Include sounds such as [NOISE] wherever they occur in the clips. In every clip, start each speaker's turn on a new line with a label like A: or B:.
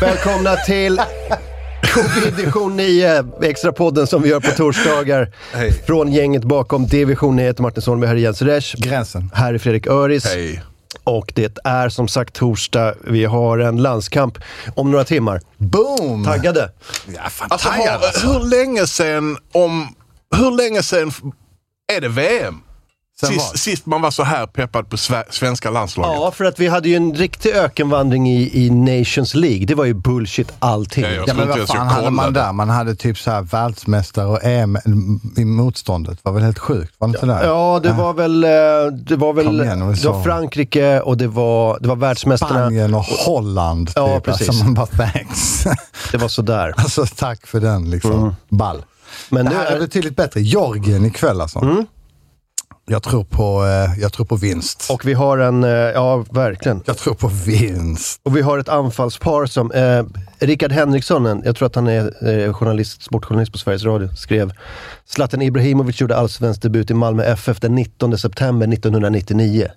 A: Välkomna till Covid-division 9, extrapodden som vi gör på torsdagar.
B: Hej.
A: Från gänget bakom division 9, jag heter Martin Solmberg, här är Jens Resch.
C: Gränsen.
A: Här är Fredrik Öris.
B: Hej.
A: Och det är som sagt torsdag, vi har en landskamp om några timmar.
C: Boom!
A: Taggade?
C: Ja, fan,
B: Alltså,
C: taggad
B: har,
C: alltså.
B: hur länge sen om... Hur länge sen är det VM?
C: Sen
B: Sist,
C: vad?
B: sist man var så här peppad på sve, svenska landslaget.
A: Ja, för att vi hade ju en riktig ökenvandring i, i Nations League. Det var ju bullshit allting.
B: Ja, ja.
C: Ja, men
B: inte
C: vad
B: ens jag
C: fan hade man
B: kollade.
C: där? Man hade typ så här världsmästare och EM i motståndet. var väl helt sjukt? Var det inte det?
A: Ja, det var väl, eh, det var väl
C: Kom igen, det var
A: det var
C: så.
A: Frankrike och det var, det var världsmästarna.
C: Spanien och Holland. Typ.
A: Ja, precis.
C: Alltså man bara thanks. [LAUGHS]
A: Det var sådär.
C: alltså tack för den liksom. Ball.
A: Men
C: det
A: nu
C: här är
A: är,
C: betydligt bättre. Georgien ikväll alltså. Jag, tror på, eh, jag tror på vinst.
A: och vi har en, eh, ja verkligen.
C: Jag tror på vinst.
A: Och vi har ett anfallspar som, eh, Rickard Henriksson, en- jag tror att han är eh, journalist, sportjournalist på Sveriges Radio, skrev Zlatan Ibrahimovic gjorde allsvensk debut i Malmö FF den 19 september 1999.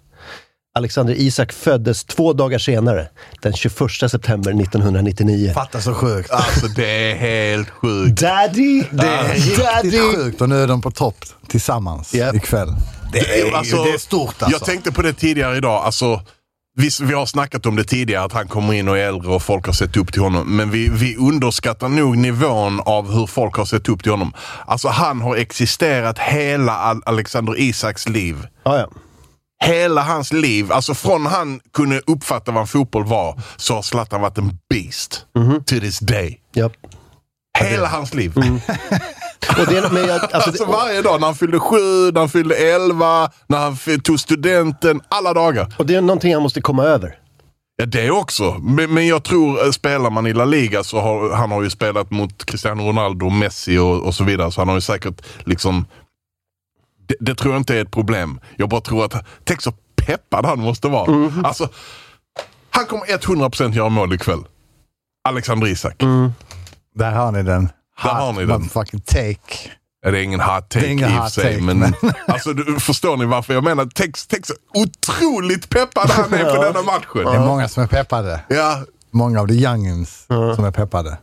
A: Alexander Isak föddes två dagar senare, den 21 september 1999.
C: Fatta så sjukt.
B: Alltså det är helt sjukt.
A: Daddy!
C: Det är riktigt sjukt och nu är de på topp tillsammans
A: Japp.
C: ikväll. Det är,
B: Alltså,
C: det är stort alltså.
B: Jag tänkte på det tidigare idag. Alltså, vi, vi har snackat om det tidigare, att han kommer in och är äldre och folk har sett upp till honom. Men vi, vi underskattar nog nivån av hur folk har sett upp till honom. Alltså han har existerat hela Al- Alexander Isaks liv.
A: Ja, ja.
B: Hela hans liv, alltså från han kunde uppfatta vad en fotboll var, så har Zlatan varit en beast. To this day.
A: Japp.
B: Hela hans liv.
A: Och det, men jag, alltså,
B: Alltså
A: det,
B: varje dag när han fyllde sju, när han fyllde elva, när han f- tog studenten. Alla dagar.
A: och det är någonting jag måste komma över.
B: Ja, det också. Men, men jag tror, eh, spelar man i La Liga så har han har ju spelat mot Cristiano Ronaldo, Messi och, och så vidare. Så han har ju säkert liksom... Det, det tror jag inte är ett problem. Jag bara tror att, tänk så peppad han måste vara.
C: Mm.
B: Alltså, han kommer 100% göra mål ikväll. Alexander Isak.
C: Mm. Där har ni den.
B: Där har ni den.
C: Fucking take.
B: Ja, Det är ingen hot
C: Det
B: take
C: är
B: i
C: ingen
B: och för
C: hot
B: sig,
C: take,
B: men
C: men-
B: [LAUGHS] alltså, du, förstår ni varför jag menar? Tänk, tänk så otroligt peppad han är på denna
C: Det är
B: matchen.
C: många som är peppade.
B: Ja,
C: Många av de youngins som är peppade.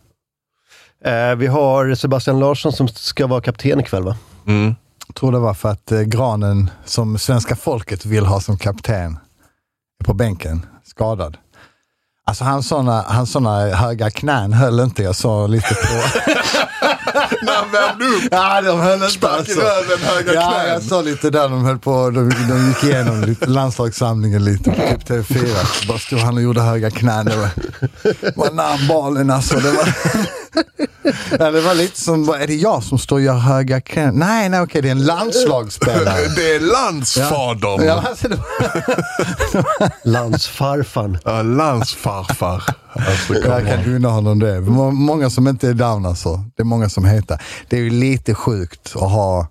A: Eh, vi har Sebastian Larsson som ska vara kapten ikväll va?
C: Jag tror det var för att eh, granen som svenska folket vill ha som kapten är på bänken, skadad. Alltså hans såna, han såna höga knän höll inte. Jag såg lite [LAUGHS] på...
B: när han värmde upp.
C: ja, de höll inte
B: Spark i
C: alltså.
B: röven, höga
C: ja,
B: knän.
C: jag såg lite där de höll på. De, de gick igenom lite, landslagssamlingen lite på typ TV4. Bara stod han och gjorde höga knän. Det var, var namnbalen alltså. Det var, ja, det var lite som, bara, är det jag som står och gör höga knän? Nej, nej okej, det är en landslagsspelare.
B: [LAUGHS] Det är landsfadern.
C: Ja,
B: Ja.
C: alltså, det var,
A: Landsfarfan.
B: landsfarfar. Alltså, kom
C: jag
B: igen.
C: kan unna honom det. Må- Många som inte är down alltså. Det är många som heter. Det är ju lite sjukt att ha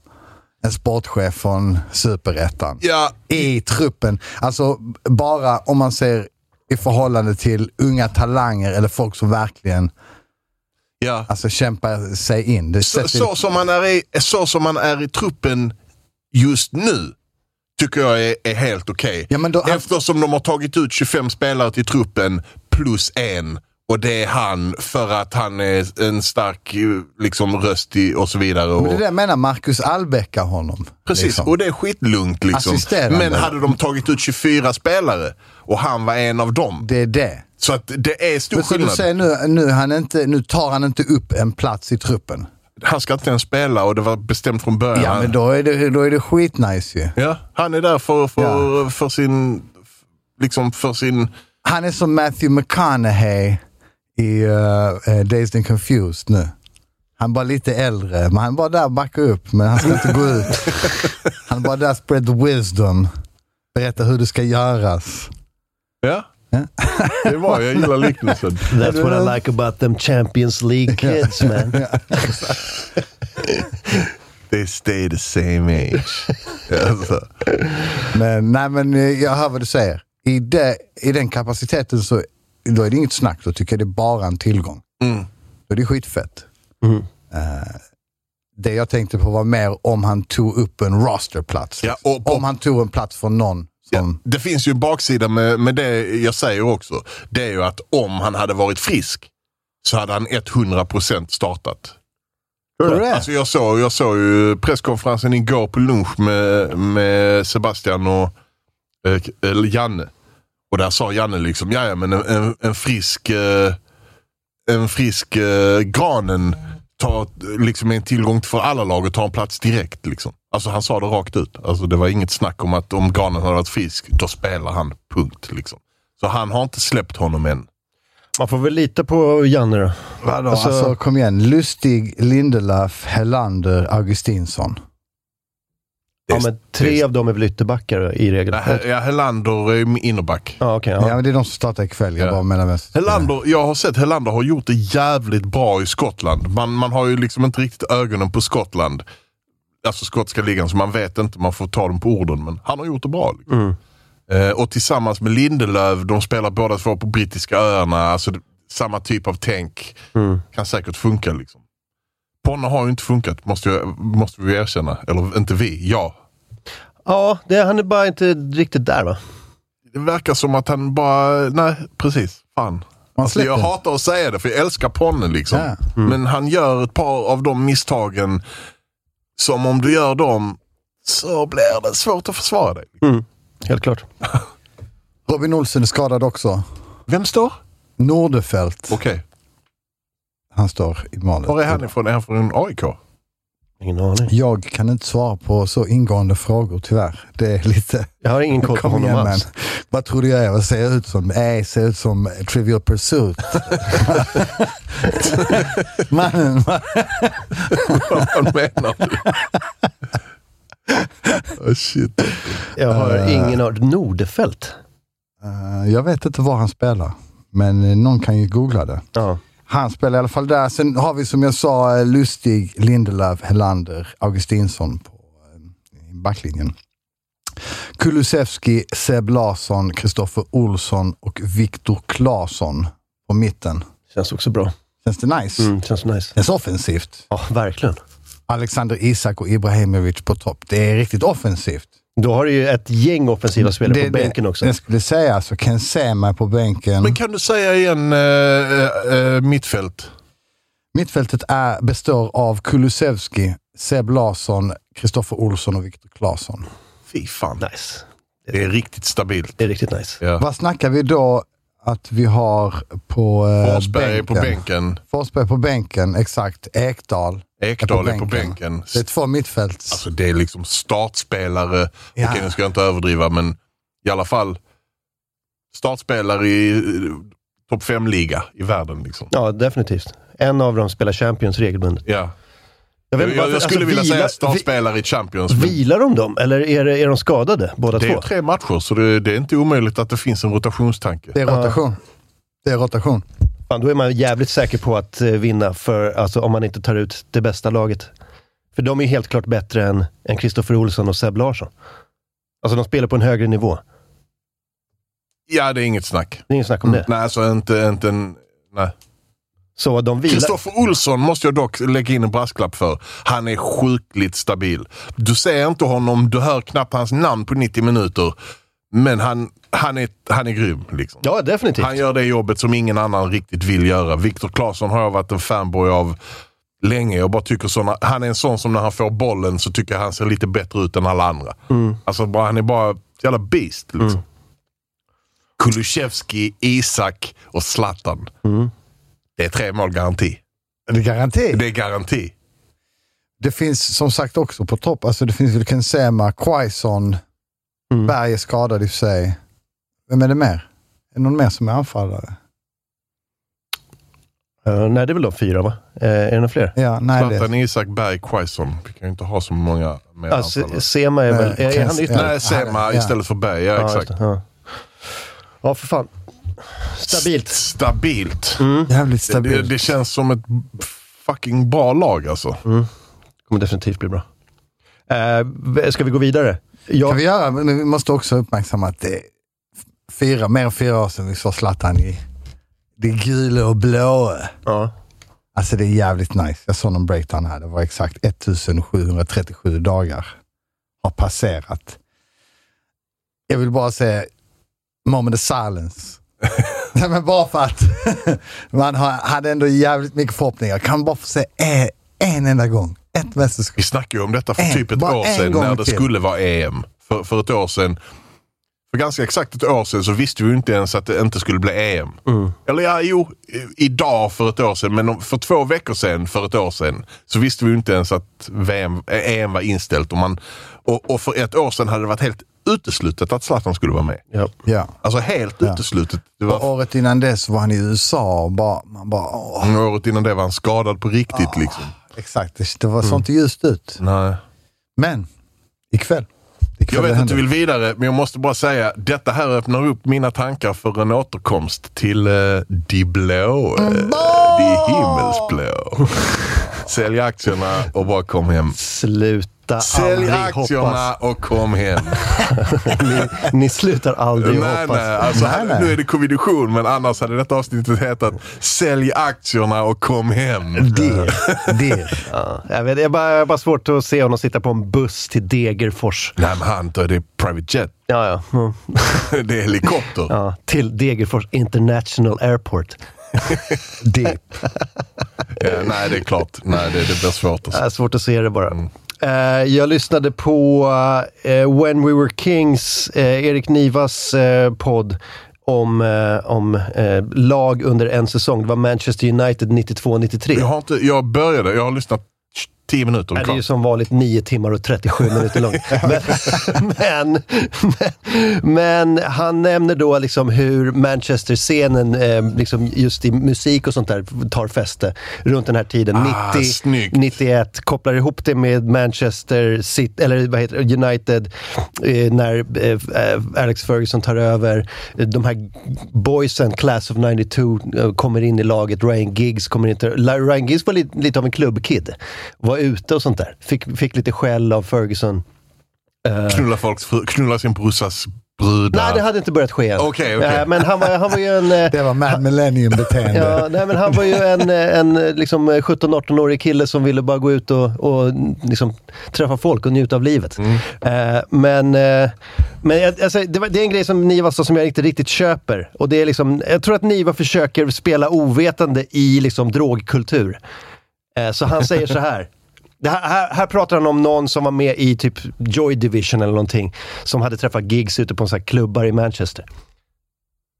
C: en sportchef från superettan.
B: ja,
C: i truppen. Alltså bara om man ser i förhållande till unga talanger eller folk som verkligen
B: ja.
C: alltså, kämpar sig in. Det
B: Så,
C: sätter-
B: så, som man är i, så som man är i truppen just nu tycker jag är, är helt okej.
C: Ja, men då- han-
B: Eftersom de har tagit ut 25 spelare till truppen plus en. Och det är han för att han är en stark eh, liksom, röst i, och så vidare. Och,
C: Men det är det jag menar, Marcus Albeck har honom.
B: Precis,
C: liksom.
B: och det är skitlugnt liksom.
C: Assisterande.
B: Men hade de tagit ut 24 spelare och han var en av dem.
C: Det är det.
B: Så att det är stor
C: Men så du
B: skillnad.
C: säger nu, nu, han inte, nu tar han inte upp en plats i truppen.
B: Han ska inte ens spela och det var bestämt från början.
C: Ja, men då är det, då är det skitnice ju.
B: Ja, han är där för, för, för sin... Liksom för sin...
C: Han är som Matthew McConaughey i eh, eh, Dazed and Confused nu. Han är bara lite äldre, men han är bara där och backar upp, men han ska inte
B: [LAUGHS]
C: gå ut. Han är bara där spread the wisdom. Berätta hur det ska göras.
B: Ja. Det var, jag gillar liknelsen.
A: That's what I like about them Champions League kids man.
B: They stay the same age. Alltså.
C: Men, nej, men eh, jag hör vad du säger. I, det, I den kapaciteten så då är det inget snack. Då tycker jag det är bara en tillgång.
B: Mm.
C: Då är det skitfett. Eh, det jag tänkte på var mer om han tog upp en rosterplats.
B: Ja, och på-
C: om han tog en plats från någon som...
B: Det finns ju en baksida med, med det jag säger också. Det är ju att om han hade varit frisk så hade han 100% startat.
A: Tror du det?
B: Alltså jag, såg, jag såg ju presskonferensen igår på lunch med, med Sebastian och eh, k- eller Janne. Och där sa Janne liksom, ja ja men en, en, en frisk, eh, en frisk eh, granen tar, eh, liksom en tillgång för alla lag och tar en plats direkt. Liksom. Alltså han sa det rakt ut. Alltså det var inget snack om att om granen hade varit frisk, då spelar han. Punkt. Liksom. Så han har inte släppt honom än.
A: Man får väl lita på Janne då.
C: Vadå?
A: Alltså-
C: Alltså, kom igen. Lustig, Lindelöf, Helander, Augustinsson.
A: Ja, men
B: det
A: tre
B: är-
A: av dem är väl ytterbackar i regel?
B: Ja, He- ja, Helander är innerback.
A: Ja, okej.
C: Ja.
A: ja.
C: men det är de som startar ikväll. Jag
B: Ja.
C: bara menar mest.
B: Helander, jag har sett Helander har gjort det jävligt bra i Skottland. Man, man har ju liksom inte riktigt ögonen på Skottland. Alltså skotska ligan, så man vet inte, man får ta dem på orden. Men han har gjort det bra. Liksom.
A: Mm.
B: Eh, och tillsammans med Lindelöf, de spelar båda två på brittiska öarna. Alltså det- samma typ av tänk
A: Mm.
B: kan säkert funka. Liksom. Ponna har ju inte funkat, måste, jag, måste vi erkänna. Eller inte vi, jag.
A: ja det, han är bara inte riktigt där va?
B: Det verkar som att han bara, nej precis, fan.
C: Man
B: Alltså,
C: släpper.
B: jag hatar att säga det, för jag älskar Ponne liksom.
C: Ja.
B: Men han gör ett par av de misstagen som om du gör dem så blir det svårt att försvara dig.
A: Helt klart.
C: Robin Olsen är skadad också.
B: Vem står?
C: Nordefelt.
B: Okej,
C: Han står i målet.
B: var är han ifrån? Är han från AIK?
A: Ingen aning.
C: Jag kan inte svara på så ingående frågor tyvärr. Det
B: [LAUGHS]
C: är lite...
A: Jag har ingen koll på
C: Kom
A: honom
C: igen man.
A: alls.
C: Vad tror du jag är? Vad ser jag ut som? Nej, ser ut som
B: [LAUGHS]
C: Trivial Pursuit. [LAUGHS] Mannen, man,
B: [LAUGHS] Vad menar du? [LAUGHS] Oh, shit.
A: Jag har ingen aning. Nordefelt?
C: Eh, jag vet inte var han spelar, men eh, någon kan ju googla det.
A: Ja.
C: Han spelar i alla fall där. Sen har vi som jag sa eh, Lustig, Lindelöf, Helander, Augustinsson på eh, i backlinjen. Kulusevski, Seb Larsson, Kristoffer Olsson och Viktor Claesson på mitten.
A: Känns också bra.
C: Känns det nice?
A: Mm, känns nice.
C: Känns offensivt.
A: Ja, verkligen.
C: Alexander Isak och Ibrahimovic på topp. Det är riktigt offensivt.
A: Då har du ju ett gäng offensiva spelare
C: det,
A: på bänken också.
C: Det, jag skulle säga alltså, Ken Sema på bänken.
B: Men kan du säga igen eh, eh, eh, mittfält?
C: Mittfältet är, består av Kulusevski, Seb Larsson, Kristoffer Olsson och Viktor Claesson.
B: Fy fan.
A: Nice.
B: Det är riktigt stabilt.
A: Det är riktigt nice.
B: Ja.
C: Vad snackar vi då att vi har på eh,
B: Forsberg är
C: bänken?
B: på bänken.
C: Forsberg på bänken, exakt. Ekdal.
B: Ekdal är på
C: bänken.
B: bänken.
C: Det är två mittfälts...
B: Alltså det är liksom startspelare.
C: Ja.
B: Okej, nu ska jag inte överdriva, men i alla fall startspelare i eh, topp 5-liga i världen. Liksom.
A: Ja, definitivt. En av dem spelar Champions regelbundet.
B: Ja.
A: Jag,
B: Jag,
A: vet inte
B: jag,
A: varför-
B: skulle vilja
A: vilar-
B: säga
A: vi-
B: startspelare i Champions, men
A: Vilar de dem, eller är, det, är de skadade båda
B: det är
A: två?
B: tre matcher, så det, det är inte omöjligt att det finns en rotationstanke.
C: det är rotation. Det är rotation.
A: Fan, då är man jävligt säker på att eh, vinna, för, alltså, om man inte tar ut det bästa laget. För de är ju helt klart bättre än än Kristoffer Olsson och Seb Larsson. Alltså de spelar på en högre nivå.
B: Ja, det är inget snack.
A: Det är inget snack om det.
B: Nej, alltså inte, inte en... Nej.
A: Så de vilar...
B: Kristoffer Olsson måste jag dock lägga in en brasklapp för. Han är sjukligt stabil. Du ser inte honom, du hör knappt hans namn på 90 minuter. Men han, han, är, han är grym. Liksom.
A: Ja, definitivt.
B: Han gör det jobbet som ingen annan riktigt vill göra. Viktor Claesson har jag varit en fanboy av länge. Jag bara tycker såna, han är en sån som när han får bollen så tycker jag han ser lite bättre ut än alla andra. Alltså, bara, han är bara ett jävla beast. Liksom. Kulusevski, Isak och Zlatan.
A: Mm.
B: Det är tre mål garanti.
C: Det är garanti.
B: Det är garanti.
C: Det finns som sagt också på topp, alltså det finns väl Kensema, Quaison,
A: Mm.
C: Berg är skadad i och för sig. Vem är det mer? Är det någon mer som är anfallare?
A: Eh, nej, det är väl de fyra va? Eh, är det några fler?
C: Ja, nej det
B: Zlatan, Isak, Berg, Quaison. Vi kan ju inte ha så många mer
A: Ja, Ah, Se-
B: anfallare.
A: Sema är
C: Nej,
A: väl... Är, är han
C: Kens-
A: ytter?
C: ja.
B: Nej, Sema
C: Ja.
B: istället för Berg. Ja,
A: just
B: exakt.
A: det. Ja. ja, för fan. Stabilt. Mm.
B: S- Stabilt.
C: jävligt
B: Det, det,
C: stabilt.
B: det känns som ett fucking bra lag alltså.
A: kommer definitivt bli bra. Eh, ska vi gå vidare? Jag,
C: Kan vi göra, men vi måste också uppmärksamma att det är fyra, mer än fyra år sedan vi såg Zlatan i det gula och blåa.
A: Ja.
C: Alltså det är jävligt nice. Jag såg någon breakdown här. Det var exakt 1737 dagar har passerat. Jag vill bara säga moment of silence Nej, men bara för att [LAUGHS] man har, hade ändå jävligt mycket förhoppningar. Kan bara få se en, en enda gång. Ett mästerskap.
B: Vi snackade ju om detta för
C: En,
B: typ ett
C: bara
B: år
C: en
B: sedan
C: gång
B: när det
C: till.
B: skulle vara EM. För, för ett år sedan. För ganska exakt ett år sedan så visste vi ju inte ens att det inte skulle bli EM.
C: Mm.
B: Eller ja, jo, i- idag för ett år sedan, men om- för två veckor sedan för ett år sedan så visste vi ju inte ens att VM, eh, EM var inställt. Och, man, och, och för ett år sedan hade det varit helt uteslutet att Zlatan skulle vara med.
A: Ja.
C: Ja.
B: Alltså helt uteslutet. Det
C: Och
B: var,
C: året innan dess var han i USA och bara, man bara åh.
B: året innan det var han skadad på riktigt
C: Ah.
B: liksom.
C: Exakt, det, det var
B: Mm.
C: sånt ljust ut.
B: Nej.
C: Men, ikväll.
B: Jag
C: ikväll
B: vet
C: det
B: att du
C: händer.
B: vill vidare, men jag måste bara säga. Detta här öppnar upp mina tankar för en återkomst till uh, de blå. eh, de himmelsblå. [LAUGHS] Sälj aktierna och bara kom hem.
A: Sluta
B: Sälj
A: aldrig
B: aktierna
A: hoppas.
B: och kom hem.
A: Ni, [LAUGHS] ni slutar aldrig
B: [LAUGHS] nej,
A: hoppas.
B: nej, alltså,
C: Nej, nej.
B: Nu är det komedition, men annars hade detta avsnittet hetat Sälj aktierna och kom hem.
C: Dir, dir.
A: Ja, jag vet, det är bara, jag har bara svårt att se honom sitta på en buss till Degerfors.
B: Nej, men han tar det är private jet. [LAUGHS]
A: Ja, ja. Mm.
B: Det är helikopter.
A: ja. Till Degerfors International
B: [LAUGHS]
A: Airport.
C: Deep.
B: Ja, Eh, nej, det är klart. Nej, det, det blir svårt. Alltså.
A: Äh, svårt att se det bara. Eh, jag lyssnade på eh, When We Were Kings, eh, Erik Nivas eh, podd om, eh, om eh, lag under en säsong. Det var Manchester United 92-93.
B: Jag, har inte, jag började, jag har lyssnat 10
A: Nej,
B: minuter.
A: Äh, det är
B: klart.
A: ju som vanligt 9 timmar och 37 minuter långt. [LAUGHS] Men, men, men han nämner då liksom hur Manchester-scenen, eh, liksom just i musik och sånt där, tar fäste runt den här tiden.
B: Ah,
A: 90,
B: snyggt.
A: 91, kopplar ihop det med Manchester City, eller vad heter det, United, eh, när eh, eh, Alex Ferguson tar över. Eh, De här boysen, Class of 92, eh, kommer in i laget. Ryan Giggs kommer inte... La- Ryan Giggs var li, lite av en klubbkid. Var ute och sånt där. Fick, fick lite skäll av Ferguson.
B: Knulla folks fru, knulla sin brorsas brudar.
A: Nej, det hade inte börjat ske än.
B: Okej, okej.
A: Eh, Men han var, han var ju
B: [LAUGHS]
A: en... eh,
C: Det var Mad Millennium-beteende.
A: Ja, nej, men han var ju en, eh, en eh, liksom eh, 17-18-årig kille som ville bara gå ut och, och mm, liksom, träffa folk och njuta av livet. Eh, men eh, men jag- alltså, det, var, det är en grej som Niva sa som jag inte riktigt köper. Och det är liksom, jag tror att Niva försöker spela ovetande i liksom, drogkultur. Eh, så han säger så [LAUGHS] här. Det här, här, här pratar han om någon som var med i typ Joy Division eller någonting. Som hade träffat gigs ute på en sån här klubbar i Manchester.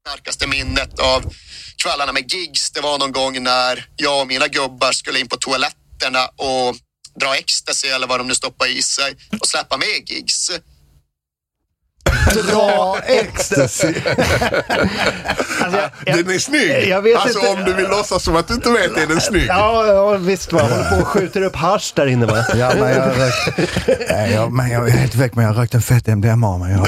D: starkaste minnet av kvällarna med gigs, det var någon gång när jag och mina gubbar skulle in på toaletterna och dra ecstasy eller vad de nu stoppar i sig och släppa med gigs.
C: [LAUGHS] Dra ecstasy.
A: Alltså, jag- jag-
B: Den är snygg!
A: Jag vet
B: alltså
A: inte.
B: om du vill låtsas som att du inte vet är den snygg.
A: Ja, ja visst va. Håller på och skjuter upp hasch där inne va.
C: Ja, men jag rökte... Nej, jag, men jag är helt väck, men jag rökte en fett MDMA. Men jag,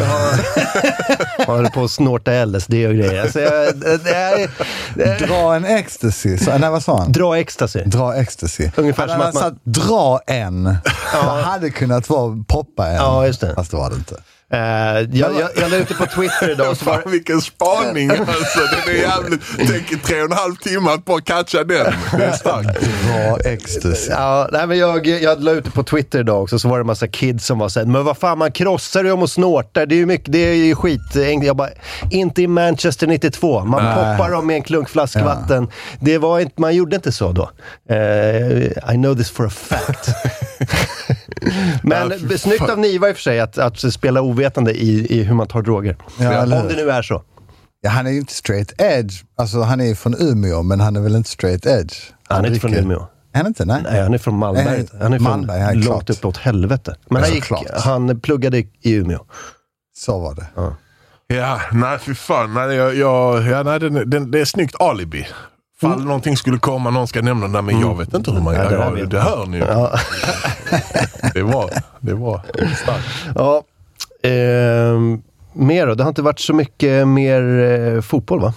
A: Håller på att snorta LSD och grejer. Alltså, jag, det- det är- det-
C: dra en ecstasy. Så, nej, vad sa han?
A: dra ecstasy.
C: Dra ecstasy.
A: Ungefär
C: Hade
A: som
C: han
A: att man-
C: sagt dra en. Det hade kunnat vara poppa en.
A: Ja, just det.
C: Fast det var det inte.
A: Eh, jag, jag, jag la ut det på Twitter idag. och Så var,
B: Fan vilken spaning alltså. Den är jävligt... Tänk tre och en halv timme att bara catcha den. Det är starkt.
C: Dra ecstasy.
A: ja, nej, men jag, jag la ut det på Twitter idag också, så var det en massa kids som var såhär, men vad fan man krossar ju om och snortar, det är ju, mycket, det är ju skit. eh, Jag bara, inte i Manchester 92. Man poppar dem med en klunk flaskvatten. Det var inte, man gjorde inte så då. Eh, I know this for a
C: [LAUGHS]
A: fact. Men
B: Ja, fy
A: snyggt
B: fan.
A: av Niva i och för sig att, att spela ovetande i, i hur man tar droger.
C: Ja, eller
A: Om
C: hur?
A: det nu är så.
C: Ja, han är ju inte straight edge. Alltså han är ju från Umeå, men han är väl inte straight edge?
A: Han är inte från
C: dricker-
A: Umeå.
C: Är han inte? Nej.
A: Nej, han är från Malmberget.
C: Nej,
A: Han är från
C: Eh, Malmberg, ja,
A: långt
C: klart.
A: uppåt helvete. Men
C: Ja,
A: han, gick,
C: klart.
A: han pluggade i Umeå.
C: Så var det.
B: Ja, nej fy fan. Nej, jag, jag, ja, nej, den, den, det är snyggt alibi. Fall någonting skulle komma, någon ska nämna det, men jag vet inte hur man
A: Mm. Nej,
B: gör.
A: det här
B: Ja,
A: vet
B: det hör ni ju. Det var, det var
A: [LAUGHS]
B: starkt.
A: Ja. Ehm, mer då? Det har inte varit så mycket mer eh, fotboll va?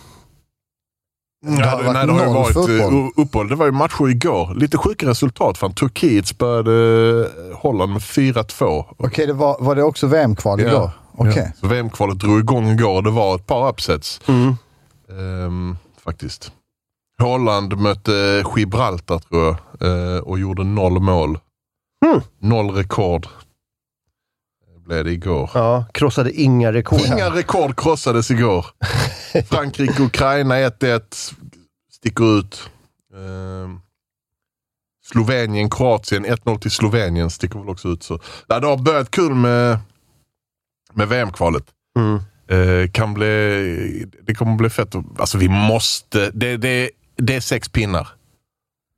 B: Det
C: har Mm. varit
B: nej, det har ju
C: noll
B: varit
C: fotboll.
B: fotboll. uppehåll. Det var ju matcher igår. Lite sjuka resultat. Fan, Turkiet spöade eh, Holland med 4-2.
C: Okej, det var, var det också VM-kval
B: Ja.
C: igår? Okej.
B: Ja. Så VM-kvalet eh, drog igång igår. Det var ett par upsets. Ehm, faktiskt. Holland mötte Gibraltar tror jag
C: Hmm.
B: eh, och gjorde noll mål. Noll rekord. blev det igår.
A: Ja, krossade inga rekord. här.
B: Inga rekord krossades igår. Frankrike-Ukraina 1-1. Sticker ut. Ehm, Slovenien-Kroatien 1-0 till Slovenien. Sticker väl också ut. Så. Ja, Det har börjat kul med, med VM-kvalet.
A: Mm.
B: Eh, kan bli, det kommer bli fett. Alltså vi måste. Det, det, det är sex pinnar.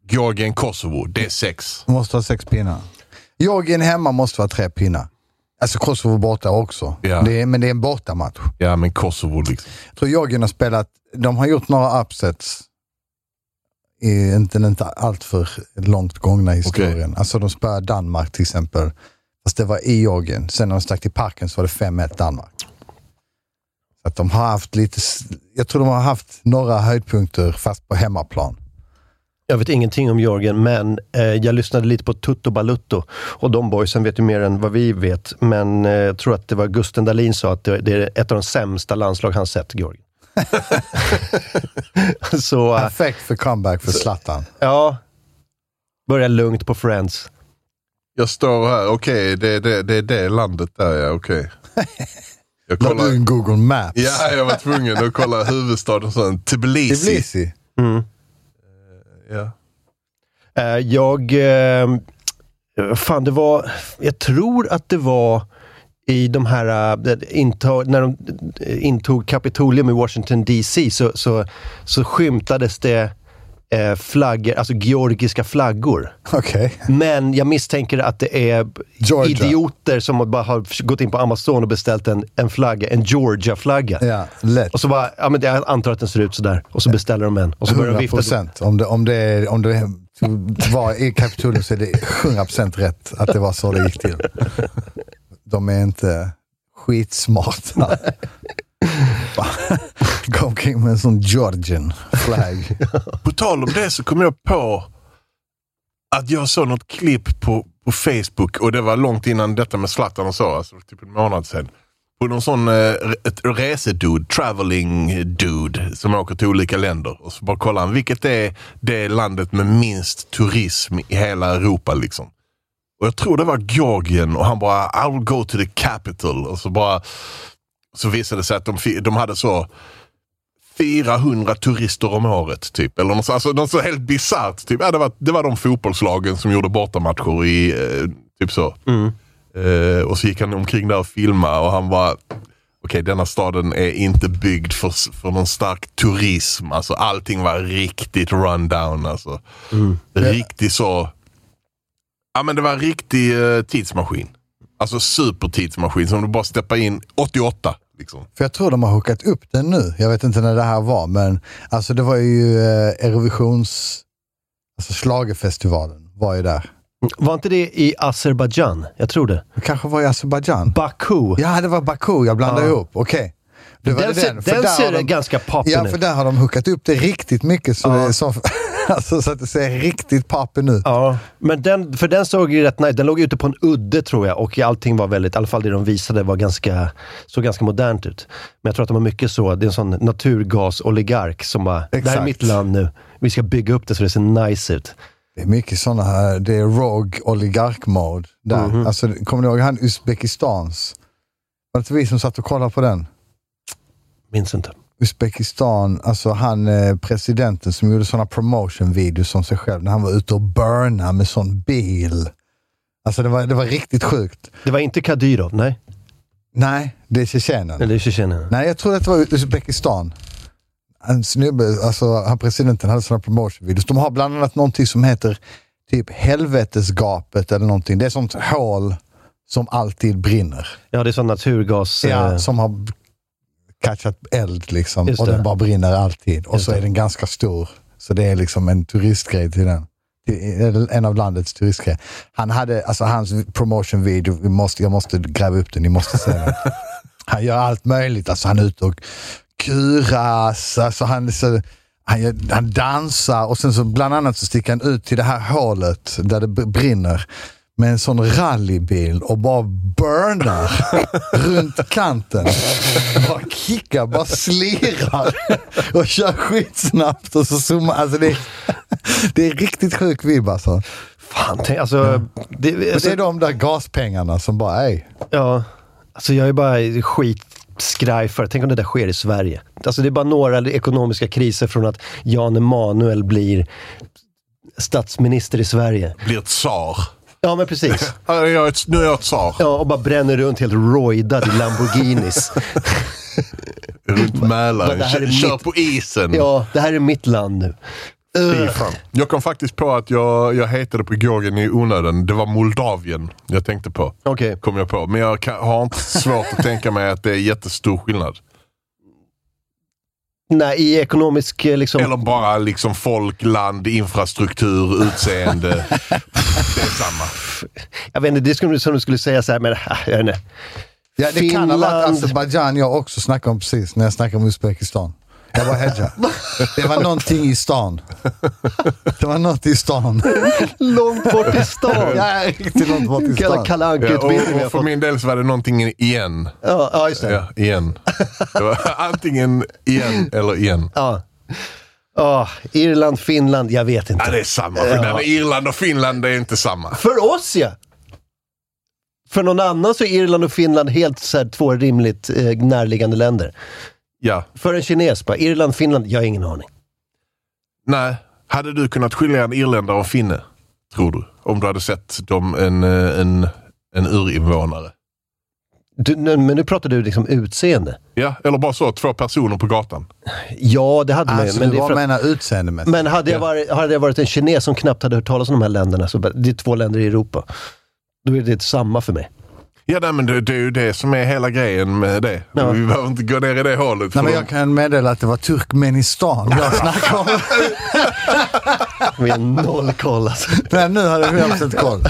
B: Georgien-Kosovo, det är sex.
C: Måste ha sex pinnar. Georgien hemma måste vara tre pinnar. Alltså Kosovo borta också.
B: Ja.
C: Det är, men det är en bortamatch.
B: Ja, men Kosovo liksom.
C: Jag tror Georgien har spelat, de har gjort några upsets. I inte, inte alltför långt gångna historien. Alltså de spöade Danmark till exempel. Fast det var i Georgien. Sen när de stack till parken så var det 5-1 Danmark. Så att de har haft lite, s- jag tror de har haft några höjdpunkter fast på hemmaplan.
A: Jag vet ingenting om Jörgen, men eh, jag lyssnade lite på Tutto Balutto. Och de boysen vet ju mer än vad vi vet. Men eh, jag tror att det var Gusten Dahlin som sa att det, det är ett av de sämsta landslag han sett, Georgien. [LAUGHS] Så eh,
C: Perfekt för comeback för Zlatan.
A: ja, börja lugnt på Friends.
B: Jag står här, okej, det, det, det är det landet där ja, okej. Jag
C: La du
B: kollar.
C: in Google Maps?
B: Ja, jag var tvungen att kolla huvudstaden sen. Tbilisi.
C: Tbilisi.
B: Ja.
A: Eh, jag... Eh, fan, det var... Jag tror att det var i de här, eh, intag, när de eh, intog Kapitolium i Washington DC så, så, så skymtades det eh, flaggor, alltså georgiska flaggor.
C: Okej. [LAUGHS]
A: Men jag misstänker att det är
C: Georgia.
A: idioter som bara har gått in på Amazon och beställt en, en flagga, en Georgia-flagga.
C: Ja, lätt.
A: Och så bara, ja men det- jag antar att den ser ut sådär. Och så beställer de en. Och så börjar de
C: 100
A: vifta.
C: procent. Om det, om det, är- om det var i Kapitolium så är det 100 procent rätt att det var så det gick till. De är inte skitsmarta. Gå omkring med en sån Georgian flag.
B: På tal om det så kom jag på att jag såg något klipp på, på Facebook och det var långt innan detta med Zlatan och så, alltså typ en månad sedan. På någon sån eh, re- ett resedude, traveling dude, som åker till olika länder. Och så bara kollar han, vilket är det landet med minst turism i hela Europa liksom? Och jag tror det var Georgien och han bara, I'll go to the capital. Och så bara, så visade det sig att de, fi- de hade så 400 turister om året. Typ. Eller något, så- alltså, något så helt bisarrt. Typ. Ja, det, var, det var de fotbollslagen som gjorde bortamatcher i, eh, typ så. Eh, och så gick han omkring där och filmade och han var Okej, denna staden är inte byggd för, s- för någon stark turism. Alltså, allting var riktigt rundown. Alltså. Riktigt så... Ja, men det var en riktig eh, tidsmaskin. Alltså supertidsmaskin som du bara steppar in 88. Liksom.
C: För jag tror de har hookat upp den nu. Jag vet inte när det här var, men alltså det var ju eh, Eurovisions... Alltså schlagerfestivalen var ju där.
A: Var inte det i Azerbajdzjan? Jag tror det.
C: Det kanske var i Azerbajdzjan.
A: Baku.
C: Ja, det var Baku. Jag blandade
A: Ja.
C: ihop. Okej. Det var
A: Den,
C: det
A: ser,
C: För
A: den
C: där
A: ser
C: har de-
A: ganska poppin
C: Ja,
A: ut.
C: för där har de hookat upp det riktigt mycket så,
A: Ja.
C: det, är så, [LAUGHS] alltså, så att det ser riktigt pappen ut.
A: Ja, men den, för den såg ju rätt nice. Den låg ute på en udde tror jag och allting var väldigt, i alla fall det de visade var ganska, såg ganska modernt ut. Men jag tror att de har mycket så, det är en sån naturgasoligark som bara, det här är
C: Exakt.
A: mitt land nu. Vi ska bygga upp det så det ser nice ut.
C: Det är mycket sådana här, det är rogue oligark-mode där.
A: Mhm.
C: Alltså, kommer ni ihåg han Uzbekistans? Var det inte vi som satt och kollade på den?
A: Minns inte.
C: Uzbekistan, alltså han eh, presidenten som gjorde sådana promotion-videos om sig själv när han var ute och burna med sån bil. Alltså det var, det var riktigt sjukt.
A: Det var inte Kadyrov, nej.
C: Nej, det är Tjetjenien.
A: Eller Tjetjenien.
C: Nej, jag tror att det var Uzbekistan. En snubbe, alltså han presidenten hade sådana promotionvideos. De har bland annat någonting som heter typ helvetesgapet eller någonting. Det är sånt hål som alltid brinner.
A: Ja, det är sån naturgas... eh,
C: Ja. Som har catchat eld liksom
A: Just
C: och
A: det.
C: den bara brinner alltid. Och
A: Just
C: så
A: det.
C: är den ganska stor. Så det är liksom en turistgrej till den. Det är En av landets turistgrejer. Han hade, alltså hans promotionvideo, vi måste, jag måste gräva upp den, ni måste
A: [LAUGHS]
C: se den. Han gör allt möjligt, alltså han är ute och kuras, alltså han, är så, han, gör- han dansar och sen så bland annat så sticker han ut till det här hålet där det b- brinner med en sån rallybil och bara burnar runt kanten. Bara kickar, bara slirar och kör skitsnabbt och så zoomar. Alltså det, är- det är riktigt sjuk vibb alltså.
A: Fan, tänk, alltså... Det,
C: Men
A: alltså
C: det är de där gaspengarna som bara, ej,
A: ja, Alltså jag är bara skitskraj för Tänk om det där sker i Sverige. Alltså det är bara några ekonomiska kriser från att Jan Emanuel blir statsminister i Sverige.
B: Blir ett tsar.
A: Ja, men
B: [LAUGHS]
A: precis.
B: Ja, jag är ett- Nu är jag ett tsar.
A: Ja, och bara bränner runt helt roidad i
B: [LAUGHS]
A: Lamborghinis.
B: Runt Mälaren.
A: det här är
B: Kör- Kör
A: mitt-
B: på isen.
A: Ja, det här är mitt land nu. Eh,
B: Fy fan. Jag kom faktiskt på att jag, jag hetade på Georgien i onödan. Det var Moldavien jag tänkte på.
A: Okej.
B: Kom jag på. Men jag kan, har inte svårt att tänka mig att det är jättestor skillnad.
A: Nej, i ekonomisk eh, liksom...
B: Eller bara liksom folk, land, infrastruktur, utseende. det är samma.
A: Jag vet inte, det skulle som du skulle säga så här, men [LAUGHS] äh, jag vet inte.
C: Ja, det kan ha varit
A: Finland.
C: Azerbajdzjan jag också snackade om precis, när jag snackade om Uzbekistan. Jag var hedja. Det var någonting i stan. Det var något i stan.
A: Långt bort i
B: [LAUGHS]
A: stan.
C: Ja, riktigt långt bort i
A: Jävla
C: stan.
A: Kalle
B: Ja,
A: Anka-utbildning vi
B: och,
A: har
B: och för
A: fått.
B: min del så var det någonting igen.
A: Ja, ja, just det.
B: Ja, igen. Det var antingen igen eller igen.
A: Ja. Ja, Irland, Finland, jag vet
B: Ja,
A: inte.
B: det är samma. Ja. Irland och Finland det är inte samma.
A: För oss ja! För någon annan så är Irland och Finland helt så här, två rimligt eh, närliggande länder.
B: Ja.
A: För en kines bara, Irland, Finland, jag har ingen aning.
B: Nej. Hade du kunnat skilja en irländare och en finne? Tror du? Om du hade sett dem en, eh, en, en urinvånare.
A: Du, nu- men nu pratar du liksom utseende.
B: Ja, eller bara så. Två personer på gatan.
A: Ja, det hade man ju.
C: Alltså,
A: Men,
C: men
A: det är
C: vad
A: för att,
C: menar utseendemässigt?
A: men hade, jag varit, hade jag varit en kines som knappt hade hört talas om de här länderna, så bara, det är två länder i Europa. Då är det samma för mig.
B: Ja, nej, men det, det är ju det som är hela grejen med det.
A: Ja.
B: Vi behöver inte gå ner i det hålet.
C: Nej,
B: för
C: men
B: de-
C: jag kan meddela att det var Turkmenistan jag snackade om.
A: Vi har noll koll alltså.
C: Nej, nu hade jag helt sett koll.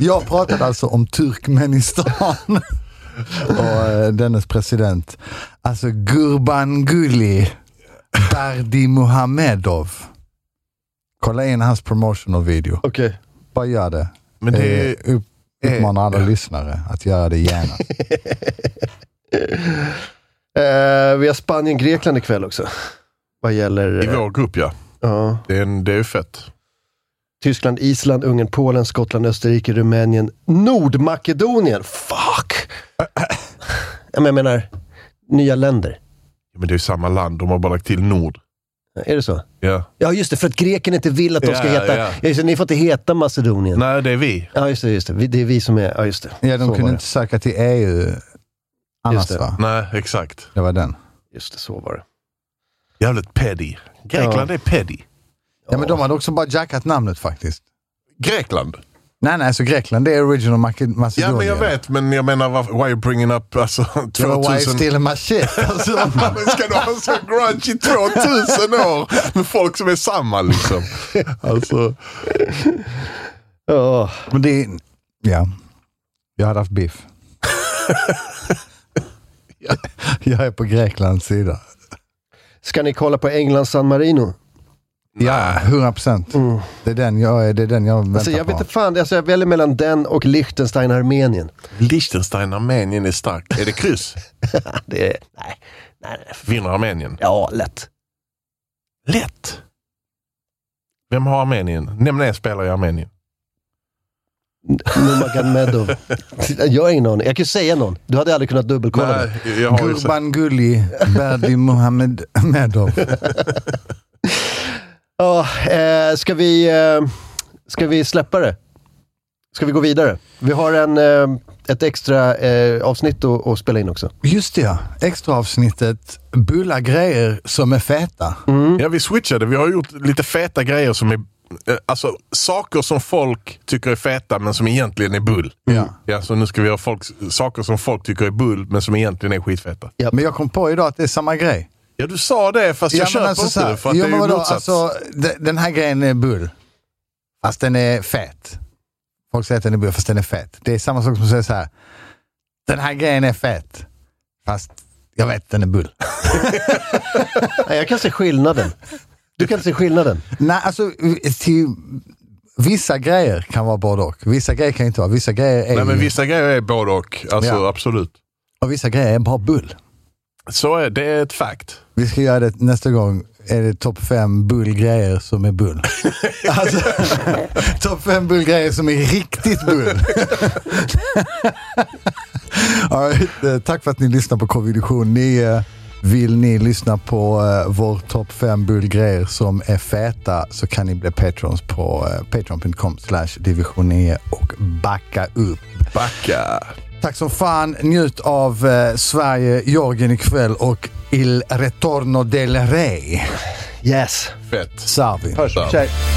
C: Jag pratade alltså om [LAUGHS] Turkmenistan och eh, dennes president. Alltså Gurbanguly Berdimuhamedov. Kolla in hans promotional video.
A: [LAUGHS] Okej.
C: Bara gör det.
B: Men det är...
C: Eh, upp- Uppmanar alla lyssnare att göra det gärna.
A: Eh, vi har Spanien-Grekland ikväll också. Vad gäller...
B: I
A: eh,
B: vår grupp, ja.
A: ja.
B: Det är, en, det är ju fett.
A: Tyskland, Island, Ungern, Polen, Skottland, Österrike, Rumänien, Nordmakedonien. Fuck!
C: [LAUGHS]
A: Ja, men jag menar, nya länder.
B: Men det är ju samma land. De har bara lagt till Nord.
A: Är det så?
B: Ja.
A: Ja, just det. För att greken inte vill att de ska
B: Ja,
A: heta...
B: ja.
A: Ja, just det, ni får inte heta Macedonien.
B: Nej, det är vi.
A: Ja, just det. Just det. Vi- det är vi som är... Ja, just det.
C: [LAUGHS] Ja, de
A: så var
C: kunde
A: det.
C: inte söka till EU annars
A: Just det.
C: va?
B: Nej, exakt.
C: Det var den.
A: Just det, så var det.
B: Jävligt peddy. Grekland är peddy.
C: Ja, men de hade också bara jackat namnet faktiskt.
B: Grekland?
C: Nej, nej, så Grekland det är original Mac- Macedonien.
B: Ja, men jag vet. Men jag menar, varför- why you bringing up alltså, [LAUGHS]
C: Det var Why
B: 2000...
C: stealing my [LAUGHS] shit. Alltså,
B: Ska du ha så grunge i 2000 år med folk som är samma liksom? Alltså,
A: Ja.
C: men det är, ja, jag hade haft biff. Jag är på Greklands sida.
A: Ska ni kolla på England-San Marino?
C: Ja, 100 procent. Det är den jag, är- det är den jag väntar
A: Alltså, jag
C: på.
A: vet inte fan, alltså, jag väljer mellan den och Liechtenstein-Armenien.
B: Liechtenstein, Armenien är starkt. Är det kryss?
A: Ah, Det är, nej, nej, nej.
B: Vinner Armenien?
A: Ja, lätt.
B: Lätt. Vem har Armenien? Nämn en spelare i Armenien.
A: Nurmagomedov. [LAUGHS] Jag har ingen aning. Jag kan ju säga någon. Du hade aldrig kunnat dubbelkolla det.
B: jag har ju sett-
C: Gurbanguly Berdimuhamedov.
A: Ja, eh, ska, vi, eh, ska vi släppa det? Ska vi gå vidare? Vi har en, eh, ett extra eh, avsnitt att, att spela in också.
C: Just det ja, extra avsnittet Bulla grejer som är feta.
B: Ja, vi switchade. Vi har gjort lite feta grejer som är... eh, Alltså saker som folk tycker är feta men som egentligen är bull.
C: Ja.
B: Ja, så nu ska vi göra folk, saker som folk tycker är bull men som egentligen är skitfeta.
C: Men jag kom på idag att det är samma grej.
B: Ja, du sa det fast jag
C: men
B: köper
C: alltså så
B: inte
C: här,
B: det för att
C: jo,
B: det är ju
C: men vadå,
B: motsats.
C: alltså, de- Den här grejen är bull. Fast den är fet. Folk säger att den är bull fast den är fet. Det är samma sak som att säga så här. Den här grejen är fet. Fast jag vet att den är bull.
A: Nej, jag kan se skillnaden. Du kan se skillnaden.
C: [LAUGHS] Nej, alltså till, vissa grejer kan vara både och. Vissa grejer kan inte vara. Vissa grejer är
B: Nej, men
C: ju-
B: vissa grejer är både och. Alltså
C: Mm. Ja.
B: absolut.
C: och vissa grejer är bara bull.
B: Så är det. är ett fact.
C: Vi ska göra det nästa gång. Är det topp fem bullgrejer som är bull? alltså, [LAUGHS] topp fem bullgrejer som är riktigt bull. [LAUGHS] All right. eh, Tack för att ni lyssnar på K-vision. Ni, eh, vill ni lyssna på eh, vår topp 5 bulgrer som är feta så kan ni bli patrons på eh, patreon.com slash division 9 och backa upp.
B: Backa.
C: Tack som fan. Njut av eh, Sverige, Jorgen ikväll och Il Retorno del Rey.
A: Yes.
B: Fett.
C: Sarvi.
A: Hörs.
B: Bra.
A: Tjej.